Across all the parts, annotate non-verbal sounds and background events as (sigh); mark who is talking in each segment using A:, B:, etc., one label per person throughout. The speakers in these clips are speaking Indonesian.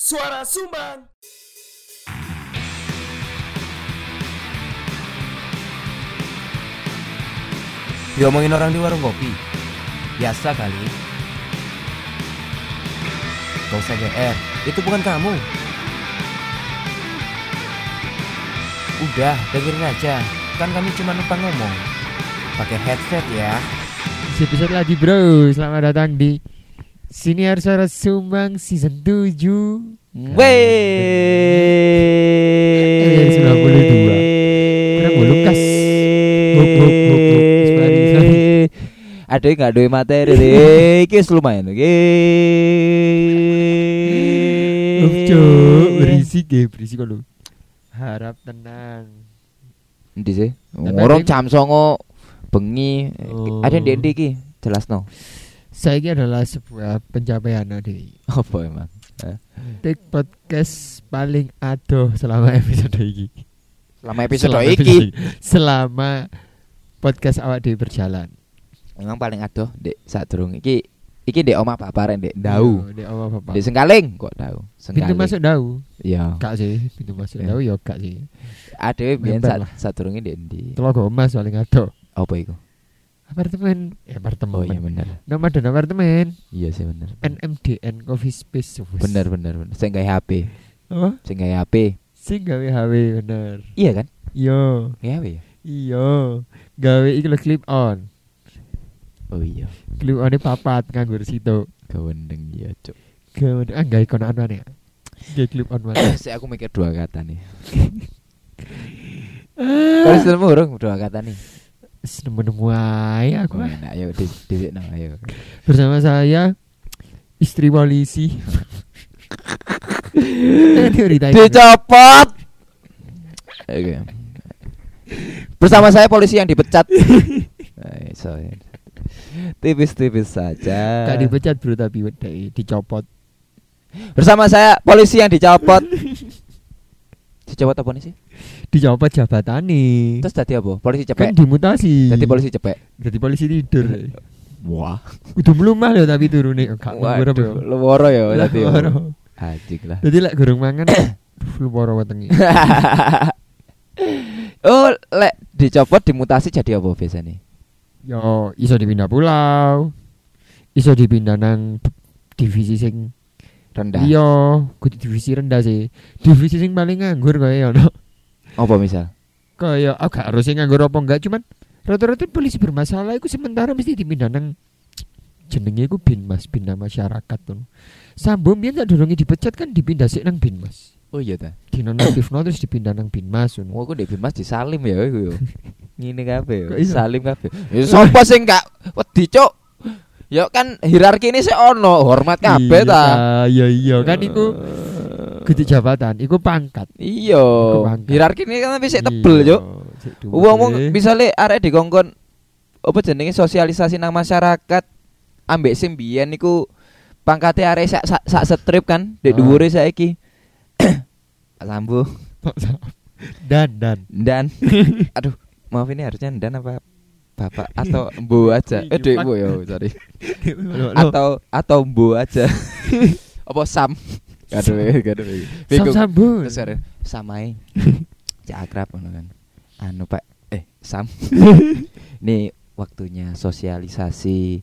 A: Suara Sumbang.
B: Diomongin orang di warung kopi Biasa kali Gak usah GR Itu bukan kamu Udah, dengerin aja Kan kami cuma numpang ngomong Pakai headset ya
C: Episode lagi bro, selamat datang di Siniar Suara Sumbang Season 7 Kan. Eh, 92. Kurang gua Lukas. Hup, hup, hup, hup. Sorry, sorry.
D: Aduh nggak ada materi deh,
C: (laughs)
D: kis lumayan oke.
C: Uf cuk, berisik ya, berisik kalau Harap tenang
D: Endi sih?
C: Tapi
D: Orang
C: ada-
D: jam songo bengi.
C: Oh.
D: Ada di endi ki? Jelas no.
C: Saya ini adalah sebuah pencapaian Adi
D: Apa emang?
C: Take podcast paling adoh selama episode ini
D: Selama episode
C: Selama
D: iki
C: episode- Selama podcast awak di berjalan
D: emang paling adoh dek saat iki iki dek oma paparen dek dau.
C: Di awal bapak
D: Dek sengkaling kok dau.
C: Iya. Pintu
D: Sengkaling.
C: masuk dau
D: Iya.
C: Kak sih, pintu masuk
D: Ya.
C: dau ya kak sih
D: Ade biyen
C: Mepet
D: saat
C: lah.
D: saat dek endi?
C: Telaga Emas paling adoh
D: Apa iku?
C: apartemen eh, apartemen
D: Oh iya bener.
C: nama dan apartemen
D: Iya sih bener.
C: NMDN Coffee Space wes.
D: Bener bener bener. Sing gawe HP,
C: apa
D: sing gawe HP.
C: sing gawe HW bener
D: Iya kan?
C: yo
D: Gawe HP ya?
C: iyo gawe iki lho clip on
D: Oh iya.
C: clip on papat nganggur situ
D: Gawendeng ya, Cuk.
C: gawe ah gawe kono anu ya gawe clip on mana
D: Saya aku mikir dua kata nih. Terus ilmu urung dua kata nih.
C: nemu nemu ae aku
D: Oh,
C: ah.
D: enak ayo di di no, ayo.
C: bersama saya istri polisi
D: (laughs)
C: Jangan diceritain.
D: Dicopot. Oke. Bersama saya polisi yang dipecat. Eh, so, Tipis-tipis saja.
C: Gak dipecat bro tapi wedai dicopot
D: Bersama saya polisi yang dicopot. Dicopot apa nih sih?
C: dicopot jabatan nih
D: Terus tadi apa? Polisi
C: kan
D: cepek.
C: dimutasi
D: Tadi polisi cepek.
C: jadi polisi tidur
D: Iya. Wah.
C: Udah melumah loh tapi turune gak mengurep
D: Waduh,
C: yo.
D: leworo ya tadi. ya.
C: Loro.
D: Ajik lah. (laughs)
C: Jadi lek gurung mangan (coughs) duh, loro wetenge.
D: oh, lek dicopot dimutasi jadi apa biasanya?
C: Yo iso dipindah pulau. Iso dipindah nang divisi sing
D: Rendah.
C: liya, kudu divisi rendah sih. Divisi sing paling nganggur kaya ono.
D: Apa misal?
C: Kaya aku oh, gak harus sing nganggur apa enggak cuman rata-rata polisi bermasalah iku sementara mesti dipindah nang jenenge iku binmas pindah masyarakat tuh. Sambung biyen tak dorongnya dipecat kan dipindah sik nang binmas.
D: Oh iya ta.
C: dinonaktifno terus dipindah nang binmas ngono.
D: Wah, aku ndek Bimas disalim ya iku yo. Ngene kabeh yo.
C: Kok iso?
D: Salim kabeh. Ya sapa sing gak wedi, Cuk? Ya kan hierarki ini sih ono, hormat kabeh
C: Iya,
D: ta.
C: Iya iya kan iku
D: Eh.
C: gede jabatan, iku pangkat.
D: Iya.
C: Iku bangga.
D: Hierarki ini kan
C: Iya.
D: bisa tebel, Cuk. Wong-wong misale arek dikongkon apa jenenge sosialisasi nang masyarakat ambek sing biyen niku pangkate arek sak sak, sak setrip kan dek
C: Ah.
D: dhuwure saiki. (coughs) Pak Sambu
C: dan dan
D: dan aduh maaf ini harusnya dan apa bapak atau mbo aja eh dek mbo ya sorry (laughs) atau atau mbo aja apa sam aduh aduh
C: sam
D: bingung
C: sambun.
D: terus ada (laughs) samai cak akrab ngono kan anu pak eh (laughs) sam ini waktunya sosialisasi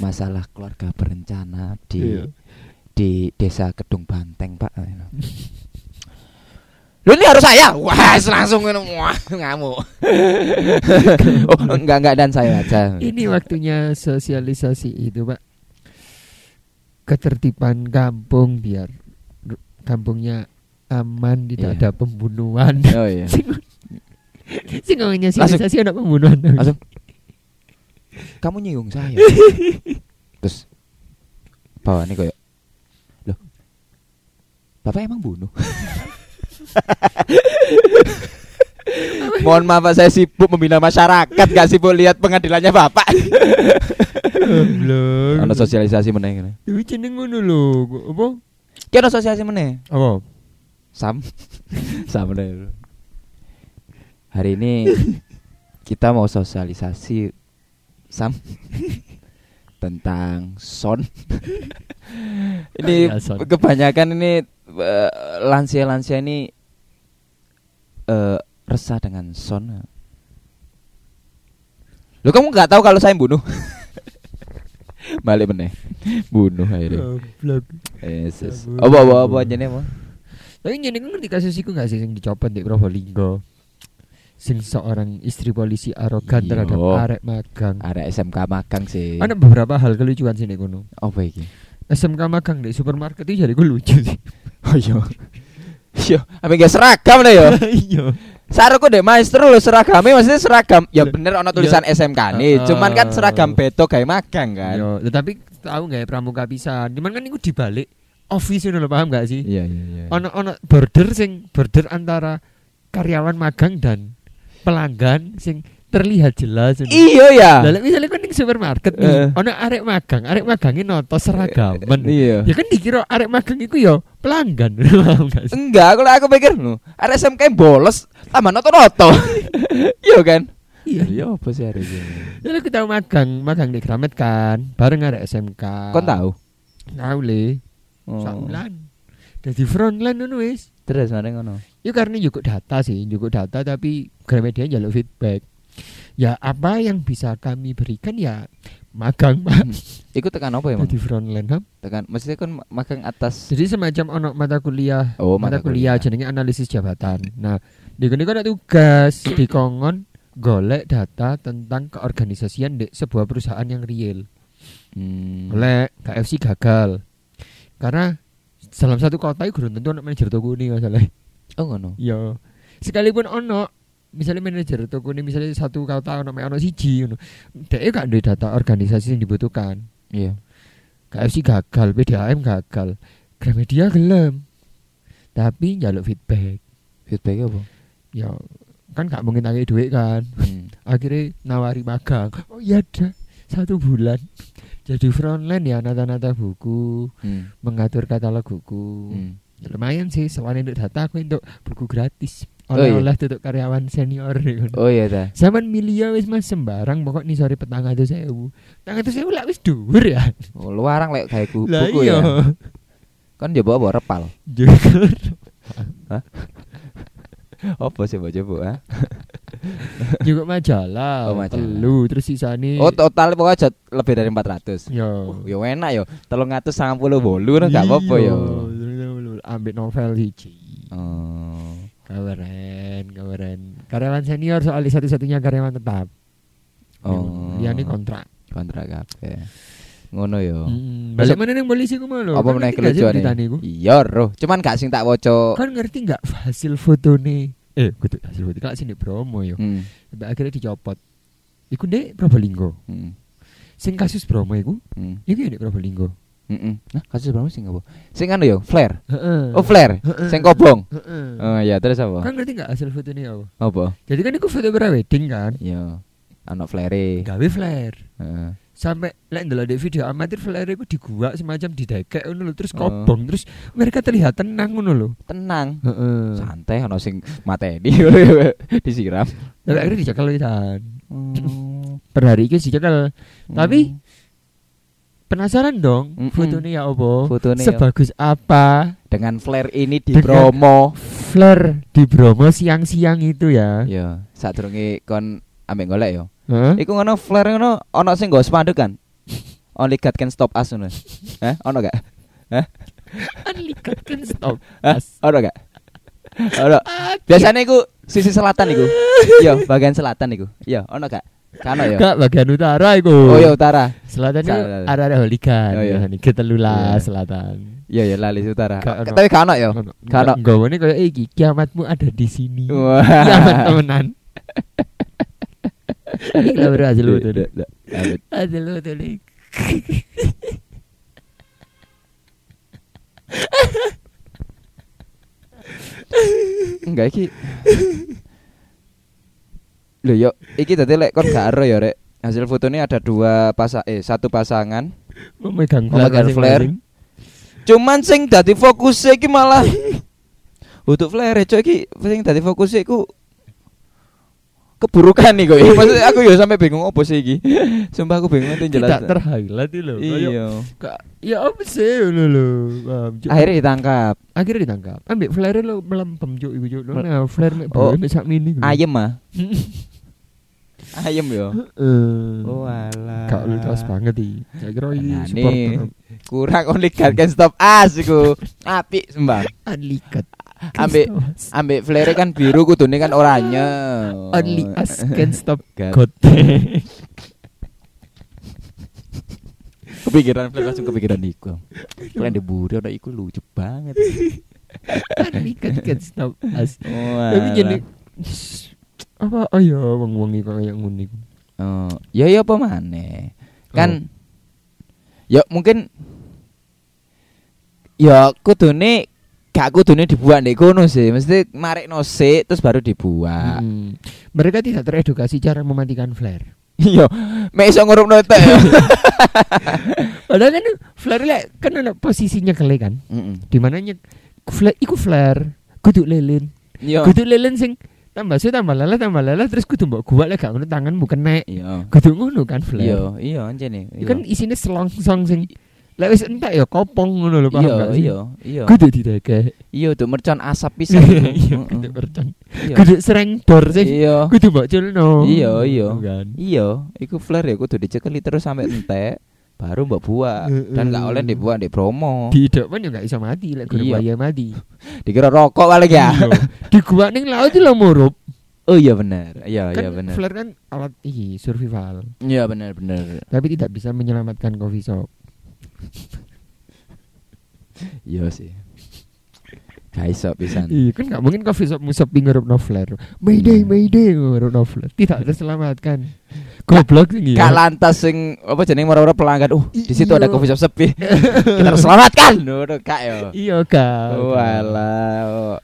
D: masalah keluarga berencana di
C: Iya.
D: di desa Kedung Banteng pak lu ini harus saya wah langsung ngono. Wah, ngamuk (laughs) oh enggak enggak dan saya aja Oh,
C: Ini waktunya sosialisasi itu, Pak. Ketertiban kampung biar ru- kampungnya aman, tidak
D: Iya.
C: ada pembunuhan.
D: oh iya
C: (laughs) Sing ngomongnya
D: Langsung.
C: sosialisasi ada pembunuhan.
D: langsung kamu nyinggung saya terus bawaannya kayak loh bapak emang bunuh mohon maaf Pak, saya sibuk membina masyarakat gak sibuk lihat pengadilannya bapak
C: Belum.
D: ada sosialisasi meneng
C: Itu jeneng ngono lho. Kok- Apa?
D: Ki ada sosialisasi meneng
C: Apa?
D: sam sam meneh. hari ini kita mau sosialisasi sam tentang son ini
C: Iya, son.
D: kebanyakan ini eh, lansia-lansia ini eh resah dengan son. Lo kamu nggak tahu kalau saya bunuh? (laughs) Balik meneh. Bunuh akhirnya.
C: Goblok.
D: Yesus. Apa apa apa jenenge apa?
C: Tapi ini kan ngerti kasus iku gak sih yang dicopot di Probolinggo? Sing seorang istri polisi arogan
D: Iya.
C: terhadap arek magang.
D: Ada SMK magang sih.
C: Ada beberapa hal kelucuan sini kono.
D: Apa iki?
C: SMK magang di supermarket itu jadi gue lucu
D: (laughs)
C: sih.
D: Oh iya. Yo, ame gak seragam deh yo.
C: Iya.
D: Sarungku dek maestro lo seragamnya maksudnya seragam. Ya bener ono
C: Iya.
D: tulisan SMK nih,
C: Heeh.
D: cuman kan seragam beto kayak magang kan.
C: Yo, Iya, tetapi tahu nggak ya pramuka pisan? Cuman kan itu dibalik office itu lo paham gak sih?
D: Iya iya iya.
C: Ono ono border sing border antara karyawan magang dan pelanggan sing terlihat jelas. ini.
D: Iya ya.
C: Lah misalnya kan ning supermarket nih,
D: Eh.
C: ono arek magang, arek magangnya noto seragaman.
D: Iya.
C: Ya kan dikira arek magang iku yo pelanggan. (laughs) Paham gak sih?
D: Enggak, kalau aku pikir lu, ada SMK yang bolos, tambah noto-noto. (laughs) Iya kan?
C: Iya.
D: apa sih hari ini?
C: Lalu aku tahu Ya magang, magang di Gramet kan, bareng arek SMK.
D: Kau tahu?
C: Tahu le. sak
D: Ah. Oh.
C: bulan. Dadi frontline ngono wis.
D: Terus mari ngono.
C: Ya karena juga data sih, juga data tapi Gramedia jaluk feedback. Ya apa yang bisa kami berikan ya magang Pak
D: Iku tekan apa emang?
C: di frontline. ha?
D: Tekan maksudnya kan ma- magang atas.
C: Jadi semacam ono mata kuliah,
D: Oh,
C: mata, kuliah, jenenge analisis jabatan. Nah, di kono kan ada tugas di kongon golek data tentang keorganisasian di sebuah perusahaan yang real.
D: Hmm.
C: Golek KFC gagal. Karena dalam satu kota itu belum tentu ono manajer toko ini masalahnya. (laughs)
D: Oh ngono.
C: Yo. Sekalipun ono misalnya manajer toko ini misalnya satu kota ono mek ono siji ngono. Dhek gak duwe data organisasi yang dibutuhkan.
D: Iya.
C: KFC gagal, PDAM gagal. Gramedia gelem. Tapi njaluk feedback.
D: Feedback apa?
C: Yo kan gak mungkin nagih duit kan.
D: Hmm,
C: Akhirnya nawari magang. Oh iya dah. Satu bulan jadi frontline ya nata-nata buku,
D: Hmm.
C: mengatur katalog buku.
D: Hmm.
C: Ya, lumayan sih soalnya untuk data aku untuk buku gratis
D: Oh,
C: oleh
D: iya.
C: oleh tutup karyawan senior ya kan.
D: Oh iya ta.
C: zaman milia wis mas sembarang pokok nih sore petang atau sewu petang atau sewu lah wis dhuwur ya
D: Oh, luarang lek kayak ku-
C: lah
D: buku
C: (laughs) iya
D: ya. Kan coba bawa repal.
C: juga
D: Apa sih mbok coba?
C: ah?
D: ha?
C: juga majalah
D: Oh, majalah.
C: telu terus sisane Ya.
D: Oh total pokoknya jat- lebih dari 400.
C: yo
D: Oh, yo enak yo. 398 enggak apa-apa Oh. yo.
C: Iya, ambil novel hiji
D: Oh.
C: kaweren kaweren karyawan senior soalnya satu-satunya karyawan tetap
D: Oh.
C: dia ini kontrak
D: kontrak kabeh. Ngono yo.
C: Hmm, balik mana yang polisi ku kan
D: Oh.
C: malu
D: Apa meneh kelucuane? Iya, roh. Cuman gak sing tak waca.
C: kan ngerti nggak hasil foto nih eh kudu hasil foto kalau sini promo yo
D: Hmm.
C: sampai akhirnya dicopot iku ndek Probolinggo
D: Hmm.
C: sing kasus promo iku
D: Hmm.
C: iku ya ndek Probolinggo
D: Heeh. Nah, kasus berapa sing apa? Sing anu yo, flare.
C: heeh
D: Oh, flare.
C: Heeh.
D: Sing kobong.
C: Heeh.
D: Oh iya, terus apa?
C: Eh, kan ngerti nggak hasil foto nih apa
D: Apa?
C: jadi kan iku foto wedding kan
D: Yo. Ana flare.
C: gawe flare
D: Heeh.
C: sampai lek ndelok di video amatir flare iku diguak semacam didekek ngono lho terus
D: Oh.
C: kobong terus mereka terlihat tenang ngono lho
D: Tenang.
C: heeh
D: Santai ana sing mateni (laughs) disiram.
C: sampai akhirnya dicekel wisan
D: Hmm.
C: per hari iki dicekel Tapi- penasaran dong
D: Mm-mm.
C: fotonya ya opo
D: Fotone ya.
C: sebagus apa
D: dengan flare ini di
C: Dengan-
D: promo.
C: Fleur di Bromo siang-siang itu ya.
D: Yo, sadurunge kon ambek golek yo.
C: Hah?
D: Iku ngono flare ngono ono sing nggo spanduk kan. Only God can stop us ngono. Hah? Ono gak?
C: Unliked kan stop.
D: Hah? Ono gak? Ono. Biasanya iku sisi selatan iku. Yo, bagian selatan iku. Yo, ono gak? Kano yo.
C: Enggak bagian utara itu.
D: Oh yo utara.
C: Selatan itu
D: Salah.
C: arah-arah holigan.
D: Oh, iya.
C: ya, nih, Kita lula
D: Iya.
C: selatan.
D: Yo yo lali utara.
C: Gak ono.
D: Tapi kano yo. Kano.
C: Enggak ini kayak iki kiamatmu ada di sini. Kiamat
D: Wah.
C: temenan. Kita berhasil betul.
D: Dak, dak, dak.
C: Hasil betul. nih.
D: Enggak iki. Lho yo, iki dadi lek kon gak ero ya rek. Hasil fotonya ada dua pasang eh satu pasangan.
C: Memegang flare.
D: Memegang flare.
C: masing-masing.
D: Cuman sing dadi fokus iki malah untuk flare cok iki sing dadi fokus iku keburukan nih kok. Maksud aku yo sampai bingung opo sih iki. (laughs) Sumpah aku bingung itu jelas.
C: Tidak terhighlight itu loh. Kayak,
D: Iya.
C: ka- Ya apa sih lo lo.
D: Akhirnya ditangkap.
C: akhirnya ditangkap. Ambil flare lo melempem cuk iku cuk. Lo
D: Mel-
C: Nah, flare mek
D: Oh.
C: oh. mek sak mini.
D: Ayem ah. (laughs) Ayem yo.
C: Oh.
D: alah.
C: Kak lu jelas banget iki. Saya kira
D: ah.
C: iki
D: Nah,
C: supporter
D: nih. Kurang only God can stop us iku. Apik sembah.
C: Unlikat.
D: Ambek ambek flare kan biru kudune kan oranye. Oh,
C: Only us can stop
D: God.
C: Oh,
D: (laughs)
C: God.
D: Kepikiran flare langsung kepikiran iku. Flare diburi ono iku lucu banget.
C: Unlikat can stop us. (laughs) Tapi
D: Tapi
C: jadi (sniffs) apa oh ya wong-wong iki kayak ngono iku.
D: Oh, ya ya apa maneh? Kan
C: Oh.
D: ya mungkin ya kudune gak kudune dibuat ndek kono sih. Mesti marekno sik terus baru (laughs) dibuat.
C: Hmm. Mereka tidak teredukasi cara mematikan flare.
D: Iya, mek iso ngurupno tek. ya.
C: (laughs) Padahal kan flare lek kan ana posisinya kele kan.
D: Mm-mm.
C: Di mana nyek flare iku flare kudu lilin.
D: Iya.
C: Kudu lilin sing tambah su tambah lelah tambah lelah terus kudu mbok gua lek gak ngono tangan bukan nek.
D: Iya.
C: Kudu ngono kan
D: Iya,
C: flare.
D: iya anjene.
C: Iku kan isine selongsong sing lek wis entek ya kopong ngono lho paham
D: iya,
C: gak sih?
D: iya, iya.
C: Kudu didekek.
D: Iya, tuh mercon
C: (laughs)
D: asap pisan.
C: Iya,
D: Mm-mm.
C: kudu mercon.
D: Iya.
C: Kudu sereng dor sing
D: Iya.
C: kudu mbok culno.
D: Iya, iya.
C: Kan.
D: Iya, iku flare ya kudu dicekeli terus sampai entek baru mbok buat dan gak oleh dibuat di promo.
C: Di idopan juga gak iso mati lek guru
D: Iya.
C: buaya mati.
D: Dikira rokok paling ya.
C: Iya. Di gua ning laut itu lho murup.
D: Oh iya benar. Iya iya
C: kan
D: benar.
C: flare kan alat iki survival
D: Iya benar benar.
C: tapi tidak bisa menyelamatkan coffee shop
D: Iya sih. Gak iso pisan.
C: iya kan nggak mungkin coffee shop musab ngerup no flare mayday mayday ngerup no flare tidak terselamatkan goblok iya. ini
D: Gak lantas sing apa jenenge moro-moro pelanggan. Uh, di situ
C: Iya.
D: ada coffee shop sepi. (laughs) Kita harus selamatkan. Ngono gak yo.
C: iya kan
D: Walah. oh.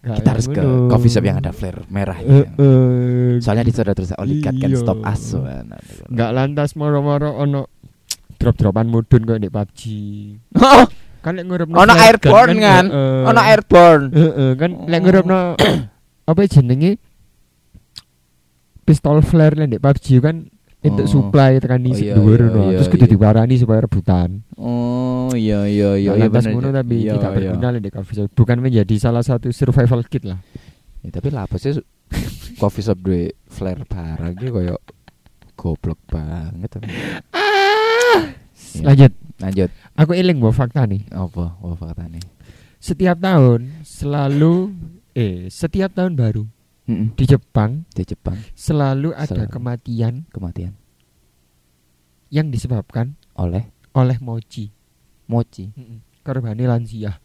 C: Nggak
D: Kita harus ke
C: ngono.
D: coffee shop yang ada flare merah.
C: Eh,
D: ya.
C: eh.
D: Soalnya di situ ada tulisan only God can
C: Iya.
D: kan stop us. Wah, nah, nah.
C: nggak lantas moro-moro ono drop-dropan mudun kok di PUBG
D: Oh,
C: kan lek ngerup
D: Ono airborne kan? ono airborne.
C: eh, kan lek ngerup
D: (coughs)
C: apa jenenge pistol flare lek di PUBG kan untuk
D: Oh.
C: supply tekan
D: Oh,
C: di
D: iya,
C: dhuwur
D: iya,
C: no.
D: iya,
C: terus kudu
D: iya.
C: diwarani supaya rebutan.
D: Oh, iya iya iya.
C: Nah,
D: iya,
C: lantas
D: bener.
C: ngono tapi
D: Iya,
C: tidak
D: iya.
C: berguna lek di coffee shop. Bukan menjadi salah satu survival kit lah.
D: Ya, tapi lah apa sih su- (laughs) coffee shop duwe flare barang iki koyo goblok banget. tapi. Iya.
C: Lanjut.
D: Lanjut.
C: Aku eling bahwa fakta nih.
D: Apa? Apa faktane?
C: Setiap tahun selalu eh setiap tahun baru
D: Heeh.
C: di Jepang
D: Di Jepang
C: selalu ada
D: Selalu.
C: kematian
D: kematian
C: yang disebabkan
D: oleh
C: oleh mochi.
D: mochi.
C: Korbannya lansia.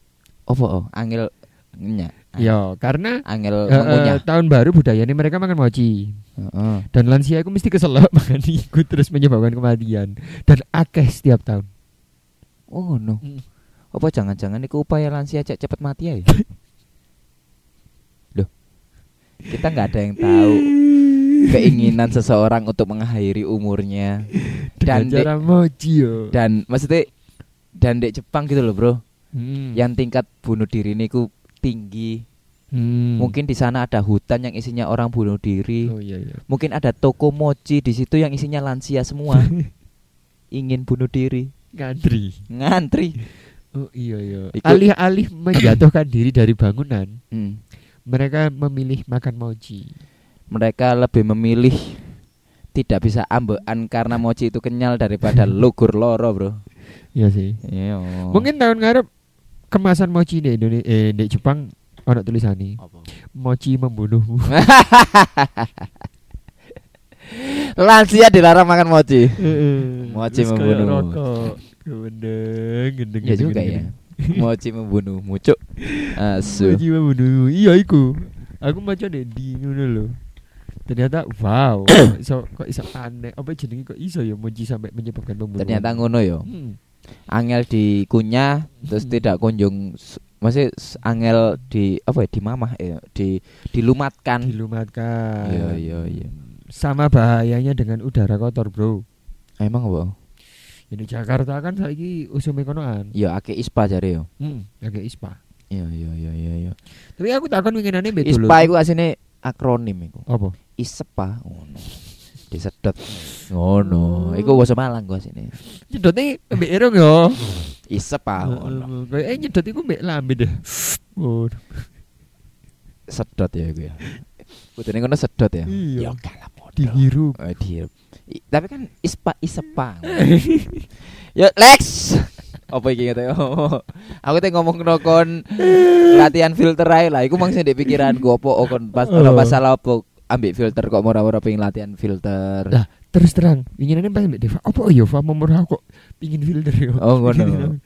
D: Apa oh? Angel nya.
C: Ya, karena
D: Angel
C: Eh, eh,
D: mengunyah.
C: tahun baru budayanya mereka makan mochi
D: Heeh.
C: dan lansia itu mesti keselak (laughs) makan ikut terus menyebabkan kematian dan akeh setiap tahun
D: Oh no.
C: Mm.
D: Apa jangan-jangan iku upaya lansia cek cepet mati
C: (laughs)
D: ya? Loh. Kita nggak ada yang tahu keinginan seseorang untuk mengakhiri umurnya dan
C: dengan
D: di-
C: cara mochi yo.
D: dan maksudnya dan di Jepang gitu loh, Bro.
C: Hmm.
D: Yang tingkat bunuh diri niku tinggi.
C: Hmm.
D: Mungkin di sana ada hutan yang isinya orang bunuh diri.
C: oh iya iya
D: Mungkin ada toko mochi di situ yang isinya lansia
C: (laughs)
D: semua. Ingin bunuh diri,
C: ngantri
D: ngantri.
C: oh iya iya
D: Iku-
C: alih-alih (clears throat) menjatuhkan diri dari bangunan
D: Hmm.
C: mereka memilih makan mochi
D: mereka lebih memilih tidak bisa ambekan karena mochi itu kenyal (laughs) daripada lugur loro bro
C: iya sih
D: Iya.
C: Oh. mungkin tahun ngarep kemasan mochi di Indonesia eh, di Jepang ono tulisan nih mochi membunuhmu
D: lansia dilarang makan mochi Mochi
C: Terus kayak
D: membunuh.
C: rokok. Gendeng, gendeng,
D: ya
C: gendeng,
D: juga
C: gendeng.
D: ya mochi membunuh mucuk asu
C: Mochi membunuh. Iya iku. Aku maca nek di ngono lho. Ternyata
D: (coughs)
C: wow, kok iso kok iso aneh. Apa jenenge kok iso ya mochi sampai menyebabkan pembunuhan.
D: ternyata ngono yo
C: Hmm.
D: angel dikunyah terus
C: Hmm.
D: tidak kunjung s- masih s- angel di apa ya dimamah ya di dilumatkan
C: dilumatkan.
D: Hmm. iya iya iya
C: Sama bahayanya dengan udara kotor, Bro.
D: emang apa
C: Ini Jakarta kan saiki usum ekonoan.
D: iya akeh ispa jare yo
C: Hmm, agak ISPA.
D: iya iya iya iya iya
C: Tapi aku takon winginane betul.
D: ispa iku asine akronim iku
C: Apa?
D: isep pa ngono. Disedot. Ngono. Iku wong Malang gua sini.
C: Nyedotnya mbek irung yo.
D: Isep pa ngono.
C: Kayak eh, nyedot iku mbek lambe deh. Ngono.
D: Sedot ya iku ya. Kudune ngono sedot ya.
C: Iya.
D: Ya kalah modal.
C: Dihirup.
D: Eh, dihirup. I- Tapi kan ispa isepa. (laughs) Yo Lex. (laughs) Apa iki ngene? (laughs) Aku teh ngomong kon latihan filter ae lah. Iku maksudnya di pikiranku opo oh, kon pas ora
C: Oh.
D: masalah opo ambek filter kok murah-murah pengen latihan filter.
C: Lah terus terang, pinginane pas mbek Deva. Apa yo Fa murah kok pingin filter yo.
D: Oh, ngono.
C: Pingin-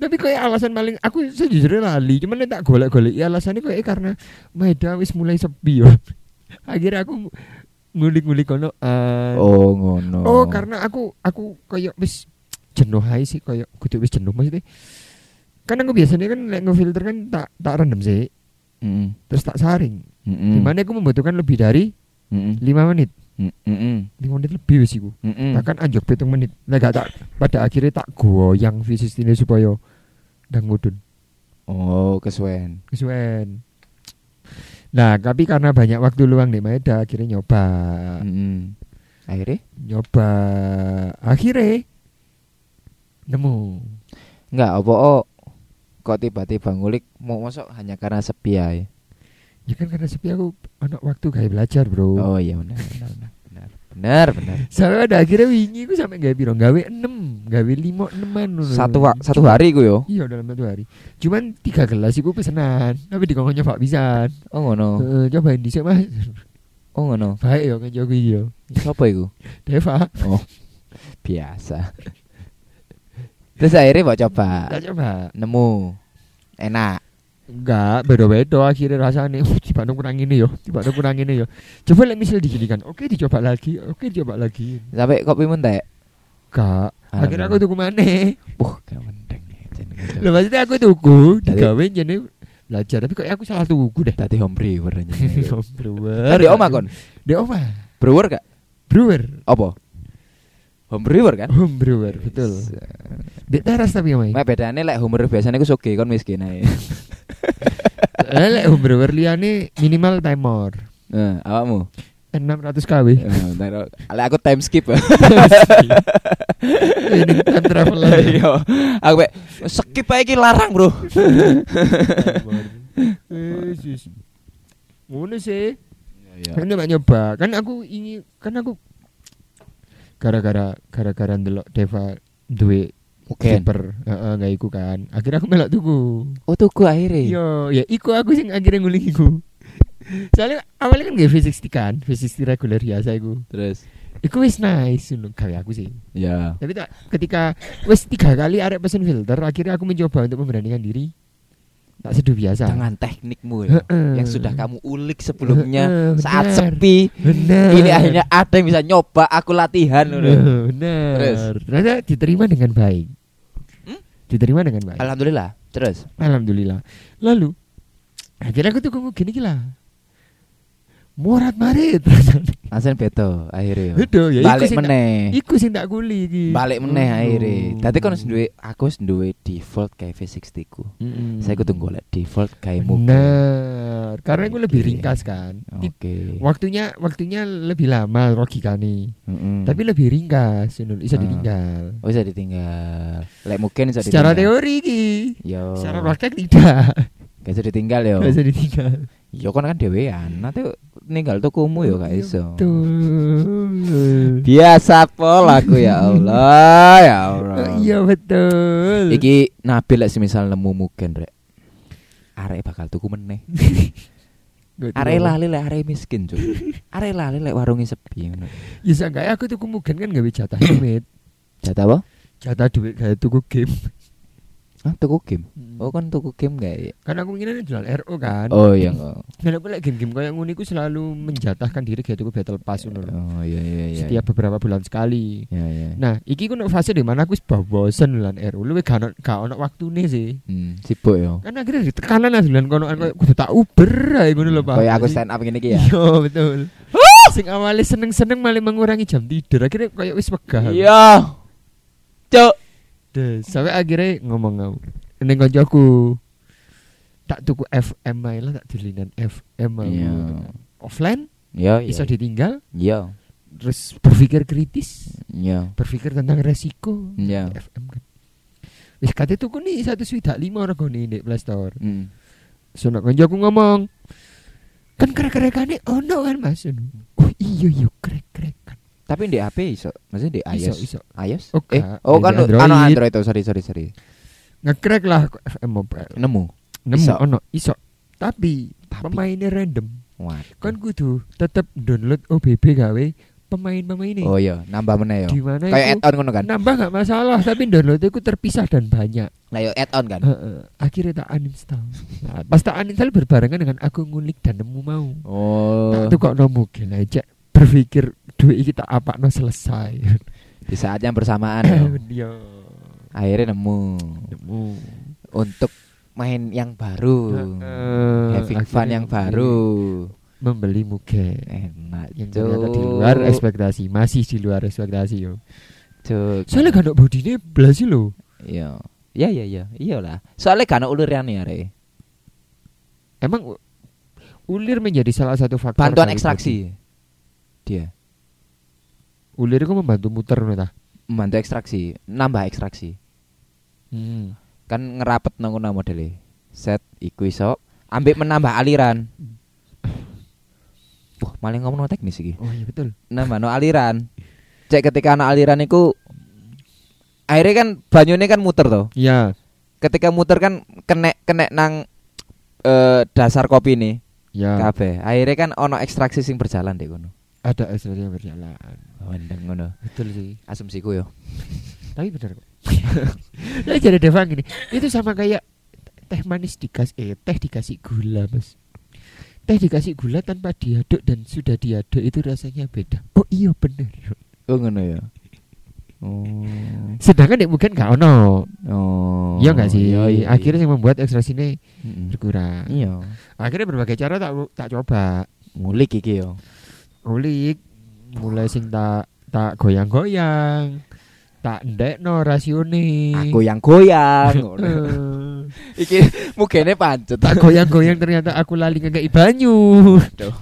C: Tapi kayak alasan paling aku sejujurnya lali, cuman nek tak golek-golek ya alasannya kayak karena Maeda wis mulai sepi yo. (laughs) Akhirnya aku ngulik-ngulik kono. eh,
D: Oh ngono.
C: Oh, karena aku aku kayak wis jenuh ae sih kayak kudu wis jenuh maksudnya. Kan aku biasanya kan nek ngefilter kan tak tak rendem sih,
D: Mm-mm.
C: terus tak saring.
D: Mm-mm.
C: Dimana aku membutuhkan lebih dari
D: Mm-mm.
C: 5 menit.
D: Mm-mm. Mm-mm.
C: 5 menit lebih wis iku.
D: Mm-mm.
C: Bahkan anjok pitung menit. Nah, gak tak pada akhirnya tak goyang fisik ini supaya ndang mudun.
D: Oh kesuwen.
C: Kesuwen. Nah, tapi karena banyak waktu luang di Maeda akhirnya nyoba.
D: Mm-mm. Akhirnya?
C: Nyoba akhirnya nemu.
D: Enggak apa oh. Kok tiba-tiba ngulik mau masuk hanya karena sepi ae.
C: Ya kan karena sepi aku anak waktu kayak belajar bro.
D: Oh iya benar benar benar, benar. Benar
C: (laughs)
D: benar.
C: Sampai pada akhirnya wingi aku sampai gawe piro gawe 6, gawe 5 eneman ngono.
D: Satu wa- satu hari ku yo.
C: Iya dalam satu hari. Cuman tiga gelas iku pesenan. Tapi dikongkon nyoba pisan.
D: Oh ngono.
C: Heeh, cobain dhisik Mas.
D: Oh ngono.
C: Baik yo kan jogo iki yo.
D: Sopo iku?
C: Deva,
D: Oh. Biasa. (laughs) Terus akhirnya mau coba
C: tak coba.
D: nemu enak.
C: Enggak, beda-beda akhirnya rasanya. Uh, tiba kurang ini yo, tiba kurang ini yo. Coba lek misal diginikan. Oke, dicoba lagi. Oke, dicoba lagi.
D: Sampai kopi mentek.
C: Ah, Enggak. Akhirnya aku tuku maneh.
D: Wah, gak mendeng. Jeneng-
C: Lah maksudnya aku tuku
D: Dari-
C: digawe jane belajar tapi kok aku salah tuku deh.
D: Tadi home brewer
C: (laughs)
D: nyeng.
C: Brewer.
D: Tadi oma kon.
C: Di oma.
D: Brewer gak?
C: Brewer.
D: Apa? Home brewer kan?
C: Home brewer, betul. Di teras tapi omai.
D: Mak bedane lek home brewer biasanya ku soge kon miskin ae.
C: Eh, Lek home brewer liyane minimal timer
D: Heeh, Nah, awakmu.
C: 600 kW.
D: Eh, ntar- Lek aku time skip.
C: Iya. Ini time travel lagi.
D: (laughs) Iya. Aku mek skip ae iki larang, Bro.
C: Yesus. Ngono sih.
D: Iya.
C: Kan nyoba nyoba. Kan aku ingin kan aku gara-gara gara-gara ndelok Deva duwe
D: Oke.
C: kiper, heeh, gak iku kan. Akhirnya aku melok tuku.
D: Oh, tuku akhirnya.
C: Yo, ya iku aku sing akhirnya nguling iku. Soalnya awalnya kan gak V60 kan, V60 reguler biasa iku.
D: Terus
C: Iku wis nice ngono gawe aku sih.
D: ya.
C: Tapi tak ketika wis tiga kali arek pesen filter, akhirnya aku mencoba untuk memberanikan diri. Tak seduh biasa.
D: Dengan teknikmu ya,
C: Heeh.
D: yang sudah kamu ulik sebelumnya
C: Heeh,
D: saat
C: benar.
D: sepi
C: Bener.
D: ini akhirnya kan, ada yang bisa nyoba aku latihan
C: Iya.
D: loh.
C: Bener.
D: Terus?
C: Ternyata diterima dengan baik.
D: Hmm?
C: Diterima dengan baik.
D: Alhamdulillah. Terus
C: Alhamdulillah. Lalu akhirnya aku tuh ngomong gini gila. Morat
D: (laughs)
C: marit.
D: Asen beto akhirnya.
C: Aduh, ya iku
D: balik
C: sing tak-
D: meneh.
C: Iku sing tak kuli iki. Oh.
D: balik meneh
C: Aduh.
D: akhirnya tadi kan harus duwe aku harus duwe default kayak V60 ku
C: Mm-mm.
D: saya kudu golek default kayak muka
C: Hmm. Bener. Karena aku
D: Iya.
C: lebih ringkas kan. Ti-
D: oke
C: Waktunya waktunya lebih lama Rocky kani.
D: Mm-mm.
C: Tapi lebih ringkas, ngono,
D: Hmm. Ah.
C: bisa ditinggal.
D: oh bisa ditinggal lek mungkin bisa
C: Secara
D: ditinggal. Oh.
C: teori iki.
D: yo
C: Secara praktek tidak.
D: gak bisa ditinggal yo
C: Gak (laughs) bisa ditinggal.
D: yo kan kan dhewean nanti ninggal tukumu yo Oh, iya,
C: Iya,
D: gak iso
C: Betul.
D: biasa pol aku ya Allah ya Allah
C: (laughs) Iya betul.
D: iki nabil lek semisal nemu mungkin rek arek bakal tuku
C: (laughs)
D: meneh
C: Gak tahu.
D: arek lali lek arek miskin cuy arek lali lek warunge sepi ngono
C: Ya seenggaknya aku tuku mugen kan gawe jatah duit.
D: Jatah apa?
C: Jatah duit kayak tuku game.
D: Hah, tuku game. Oh, kan tuku game gak ya?
C: Karena aku ingin jual RO kan.
D: Oh, iya kok.
C: Dan aku like game-game kayak ngono iku selalu menjatahkan diri kayak tuku battle pass ngono lho.
D: Oh, iya iya iya.
C: Setiap beberapa bulan sekali.
D: Iya iya.
C: Nah, iki ku nek fase di mana aku wis bau bosen lan RO. Lu gak ono gak ono waktune sih.
D: Hmm, sibuk yo.
C: Kan akhirnya ditekanan lah dolan kono aku kudu tak uber ae ngono lho Pak.
D: Kayak aku stand up gini ki ya.
C: Iya, betul. Sing awalnya seneng-seneng malah mengurangi jam tidur. Akhirnya kayak wis wegah.
D: Iya. Cuk.
C: Des, sampai akhirnya ngomong ngau. Ning koncoku tak tuku FM ae lah tak dolinan FM aku.
D: Iya.
C: Offline
D: Iya, iya.
C: iso ditinggal
D: Iya.
C: terus berpikir kritis
D: Iya.
C: berpikir tentang resiko
D: Iya.
C: FM kan wis kate tuku nih satu swidak lima orang goni di Playstore
D: Mm.
C: Sono kanji aku ngomong kan krek-krekane ono kan Mas. Oh iya iya krek-krekan.
D: Tapi di HP iso, maksudnya di
C: Iso
D: iOS.
C: iso
D: iOS?
C: Oh,
D: eh,
C: gak.
D: oh
C: Di
D: kan
C: Android.
D: anu Android tuh, sorry sorry sorry.
C: ngekrek lah kok FM mobile.
D: Nemu.
C: Nemu
D: Iso.
C: ono iso. Tapi,
D: Tapi.
C: pemainnya random.
D: Wah.
C: Kan kudu tetep download OBB gawe pemain-pemain ini.
D: Oh iya, nambah meneh yo.
C: Di mana
D: Kayak
C: itu
D: add on ngono kan.
C: nambah nggak masalah tapi downloadnya ku terpisah dan banyak.
D: Lah yo add on kan.
C: Heeh. Akhirnya
D: (laughs)
C: tak uninstall. Nah, pas tak uninstall berbarengan dengan aku ngulik dan nemu mau.
D: Oh.
C: Tak tuh kok nemu gini aja berpikir duit kita apa no (laughs) selesai.
D: Di saat yang bersamaan (laughs) yo.
C: Iya.
D: Akhirnya nemu untuk main yang baru.
C: Heeh.
D: Having fun
C: Akhirnya iya.
D: yang
C: nemu.
D: baru.
C: Membeli muge
D: Enak,
C: yang
D: Cuk.
C: ternyata di luar ekspektasi, masih di luar ekspektasi yo.
D: Cuk.
C: Soalnya kan bodine blas sih lho.
D: Iya. Ya ya ya, iyalah. Soalnya karena ulurian ya, Re.
C: Emang u- ulir menjadi salah satu faktor
D: Bantuan
C: dari
D: ekstraksi. Dia
C: body. Ulir itu membantu muter ngono ta.
D: membantu ekstraksi, nambah ekstraksi.
C: Hmm.
D: Kan ngerapet nang ngono modele. Set iku iso ambek menambah aliran. Wah, malah ngomong no teknis iki.
C: Oh iya betul.
D: Nambah no aliran. Cek ketika ana aliran iku akhirnya kan banyune kan muter toh.
C: Iya.
D: Ketika muter kan kenek kenek nang eh, dasar kopi nih
C: Ya,
D: kabeh. Akhirnya kan ono ekstraksi sing berjalan dek ngono.
C: ada ekstraksi yang berjalan.
D: Wendeng ngono.
C: Betul sih.
D: Asumsiku yo.
C: Tapi benar kok. (laughs) Lah jadi Deva gini, itu sama kayak teh manis dikasih eh, teh dikasih gula, Mas. Teh dikasih gula tanpa diaduk dan sudah diaduk itu rasanya beda. Oh iya bener.
D: Oh ngono ya. Oh.
C: Sedangkan ya mungkin gak ono.
D: Oh.
C: iya gak sih?
D: Iya, iya,
C: Akhirnya yang membuat ekstraksi ini
D: Mm-mm.
C: berkurang.
D: iya.
C: Akhirnya berbagai cara tak tak coba.
D: Ngulik iki yo.
C: Ulik mulai sing tak tak goyang-goyang. Tak ndekno rasione.
D: Aku iya. yang goyang. (laughs) ngono.
C: Eh.
D: iki mugene pancet.
C: tak goyang-goyang ternyata aku lali ngekei banyu.
D: Aduh.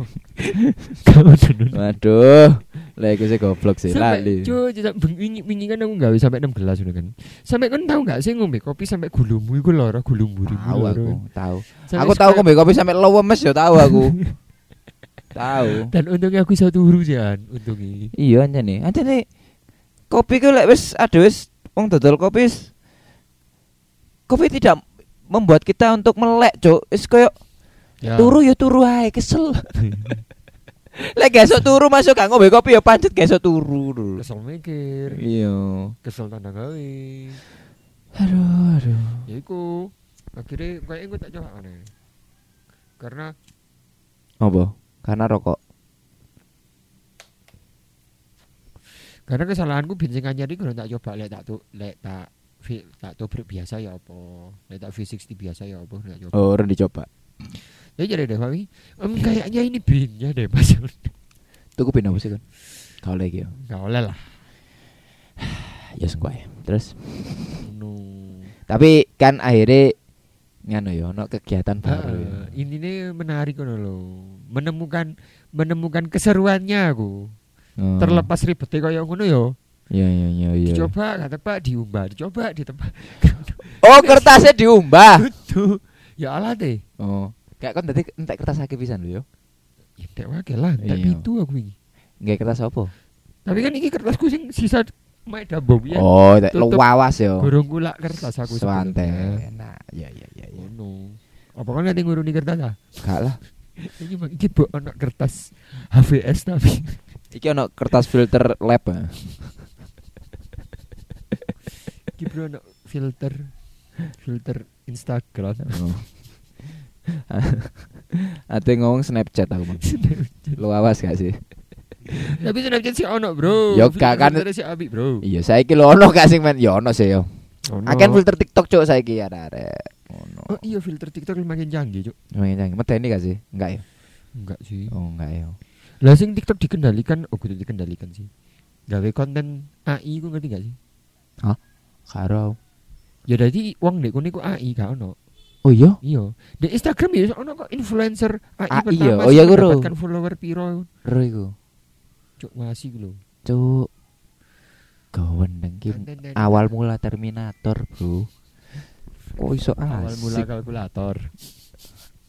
C: (laughs) Kamu dulu.
D: Waduh. Lah iku sih goblok sih
C: Sampai
D: lali.
C: cuy, wingi wingi kan aku gawe sampai 6 gelas ngono kan. Sampai kan tahu gak sih ngombe kopi sampai gulumu iku lara gulumu iku
D: Tahu
C: lara.
D: aku, tahu.
C: Sampai
D: aku tahu
C: sekarang-
D: kopi kopi sampai lemes yo tahu (laughs) aku. tahu.
C: Dan untungnya aku satu huruf jan, untungnya.
D: Iya anjane. Anjane kopi ku lek wis aduh wis wong dodol kopi wis kopi tidak membuat kita untuk melek, Cuk. Wis koyo
C: (laughs) Ya.
D: turu ya turu ae, kesel. (laughs) lek gesok turu masuk gak ngombe kopi ya pancet gesok turu dulu.
C: Kesel mikir,
D: Iya.
C: kesel tanda gawe.
D: Aduh, aduh.
C: Ya iku akhirnya kayak gue tak coba aneh. Karena
D: Apa? Karena rokok.
C: karena kesalahanku bensin anyar iku lho tak coba lek tak tu- lek tak fi- tak tobrik biasa ya apa lek tak V60 biasa ya apa tak coba
D: Oh, orang dicoba.
C: ya jadi deh Fawi Em, kayaknya ini binnya deh mas (laughs)
D: Tuku pin apa sih kan? Kau lagi ya.
C: nggak oleh lah
D: Ya sengko ae. Terus Anu,
C: no
D: tapi kan akhirnya nganu ya ono kegiatan baru ya.
C: Heeh, ini nih menarik kan lo menemukan menemukan keseruannya aku
D: Oh.
C: terlepas ribetnya kayak ngono yo
D: Iya iya iya iya.
C: dicoba gak tepat diumbah dicoba ditebak (laughs)
D: Oh kertasnya diumbah.
C: tuh ya Allah deh
D: Oh. Kayak kon tadi entek kertas akeh pisan lho yo.
C: ya tidak wakil lah
D: Iya.
C: tapi itu aku ini
D: Nggak kertas apa?
C: tapi kan ini kertasku sing sisa main dabom ya
D: Oh, tak
C: Tutup.
D: wawas yo.
C: Gurung gula kertas aku
D: Swante.
C: sebelumnya.
D: Nah, iya iya iya iya.
C: Ngono. Apa kan nanti ngurungi kertas ah?
D: Gak lah.
C: Ini bang, iki bu anak kertas HVS tapi (laughs)
D: Iki ono kertas filter lab. ah.
C: iki bro anak filter filter
D: (laughs)
C: Instagram.
D: Oh. Ate ngomong Snapchat aku, Bang. Lu awas gak sih?
C: tapi Snapchat sih ono bro.
D: Ya, gak kan.
C: Filter-filternya sih abi bro.
D: Iya, saiki lo ono gak sing men? Ya ono sih yo.
C: Ono.
D: Akan filter TikTok cuk saiki arek-arek. Ono.
C: Oh iya filter TikTok makin canggih cuk.
D: Lumayan medeni gak sih? Enggak ya.
C: Enggak sih.
D: Oh, enggak ya.
C: Lah sing TikTok dikendalikan, oh kudu dikendalikan sih. Gawe konten AI ku ngerti gak sih?
D: Karo.
C: Ya dadi wong nek kene ku AI gak ono.
D: Oh iya.
C: Iya. Di Instagram ya ono kok influencer AI
D: Ah,
C: pertama
D: iya.
C: sing
D: Oh, iya, guru.
C: mendapatkan follower piro.
D: Ro iku.
C: Cuk masih lho.
D: Cuk. Gawen nang ki awal mula Terminator, Bro. Kok iso
C: awal mula
D: asik.
C: kalkulator.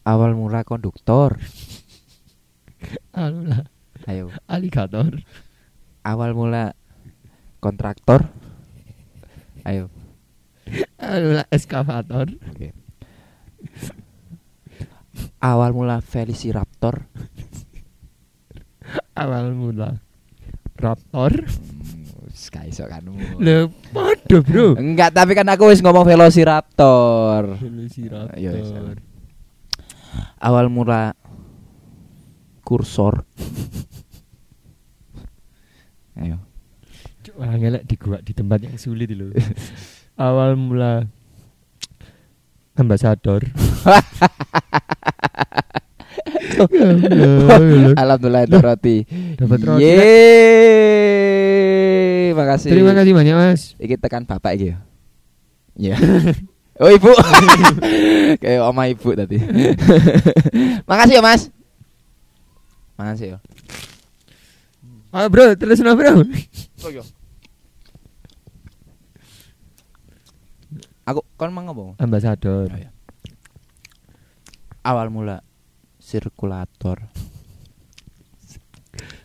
D: Awal mula konduktor.
C: Awal mula
D: Ayo.
C: aligator.
D: Awal mula kontraktor. Ayo.
C: Awal mula Anu eskavator.
D: Oke. Awal mula Velociraptor.
C: Awal mula raptor.
D: Hmm, wis gak iso kan.
C: Lho padha, Bro.
D: Enggak, tapi kan aku wis ngomong Velociraptor.
C: Velociraptor.
D: Iya, iya. Awal mula kursor. Ayo.
C: Cuk wah, ngelak di gua di tempat yang sulit
D: (laughs)
C: lho. Awal mula
D: (laughs)
C: ambasador. Ya Allah.
D: Alhamdulillah dapat roti.
C: Dapat roti.
D: Yeay. Makasih.
C: Terima kasih banyak, Mas.
D: Iki tekan bapak iki ya. Iya. (laughs) Oh ibu, (laughs) kayak oma ibu tadi. (laughs) Makasih ya mas. Makasih ya.
C: Ah, bro, terus no, bro.
D: Aku kon mau ngomong.
C: Ambasador.
D: Awal mula sirkulator.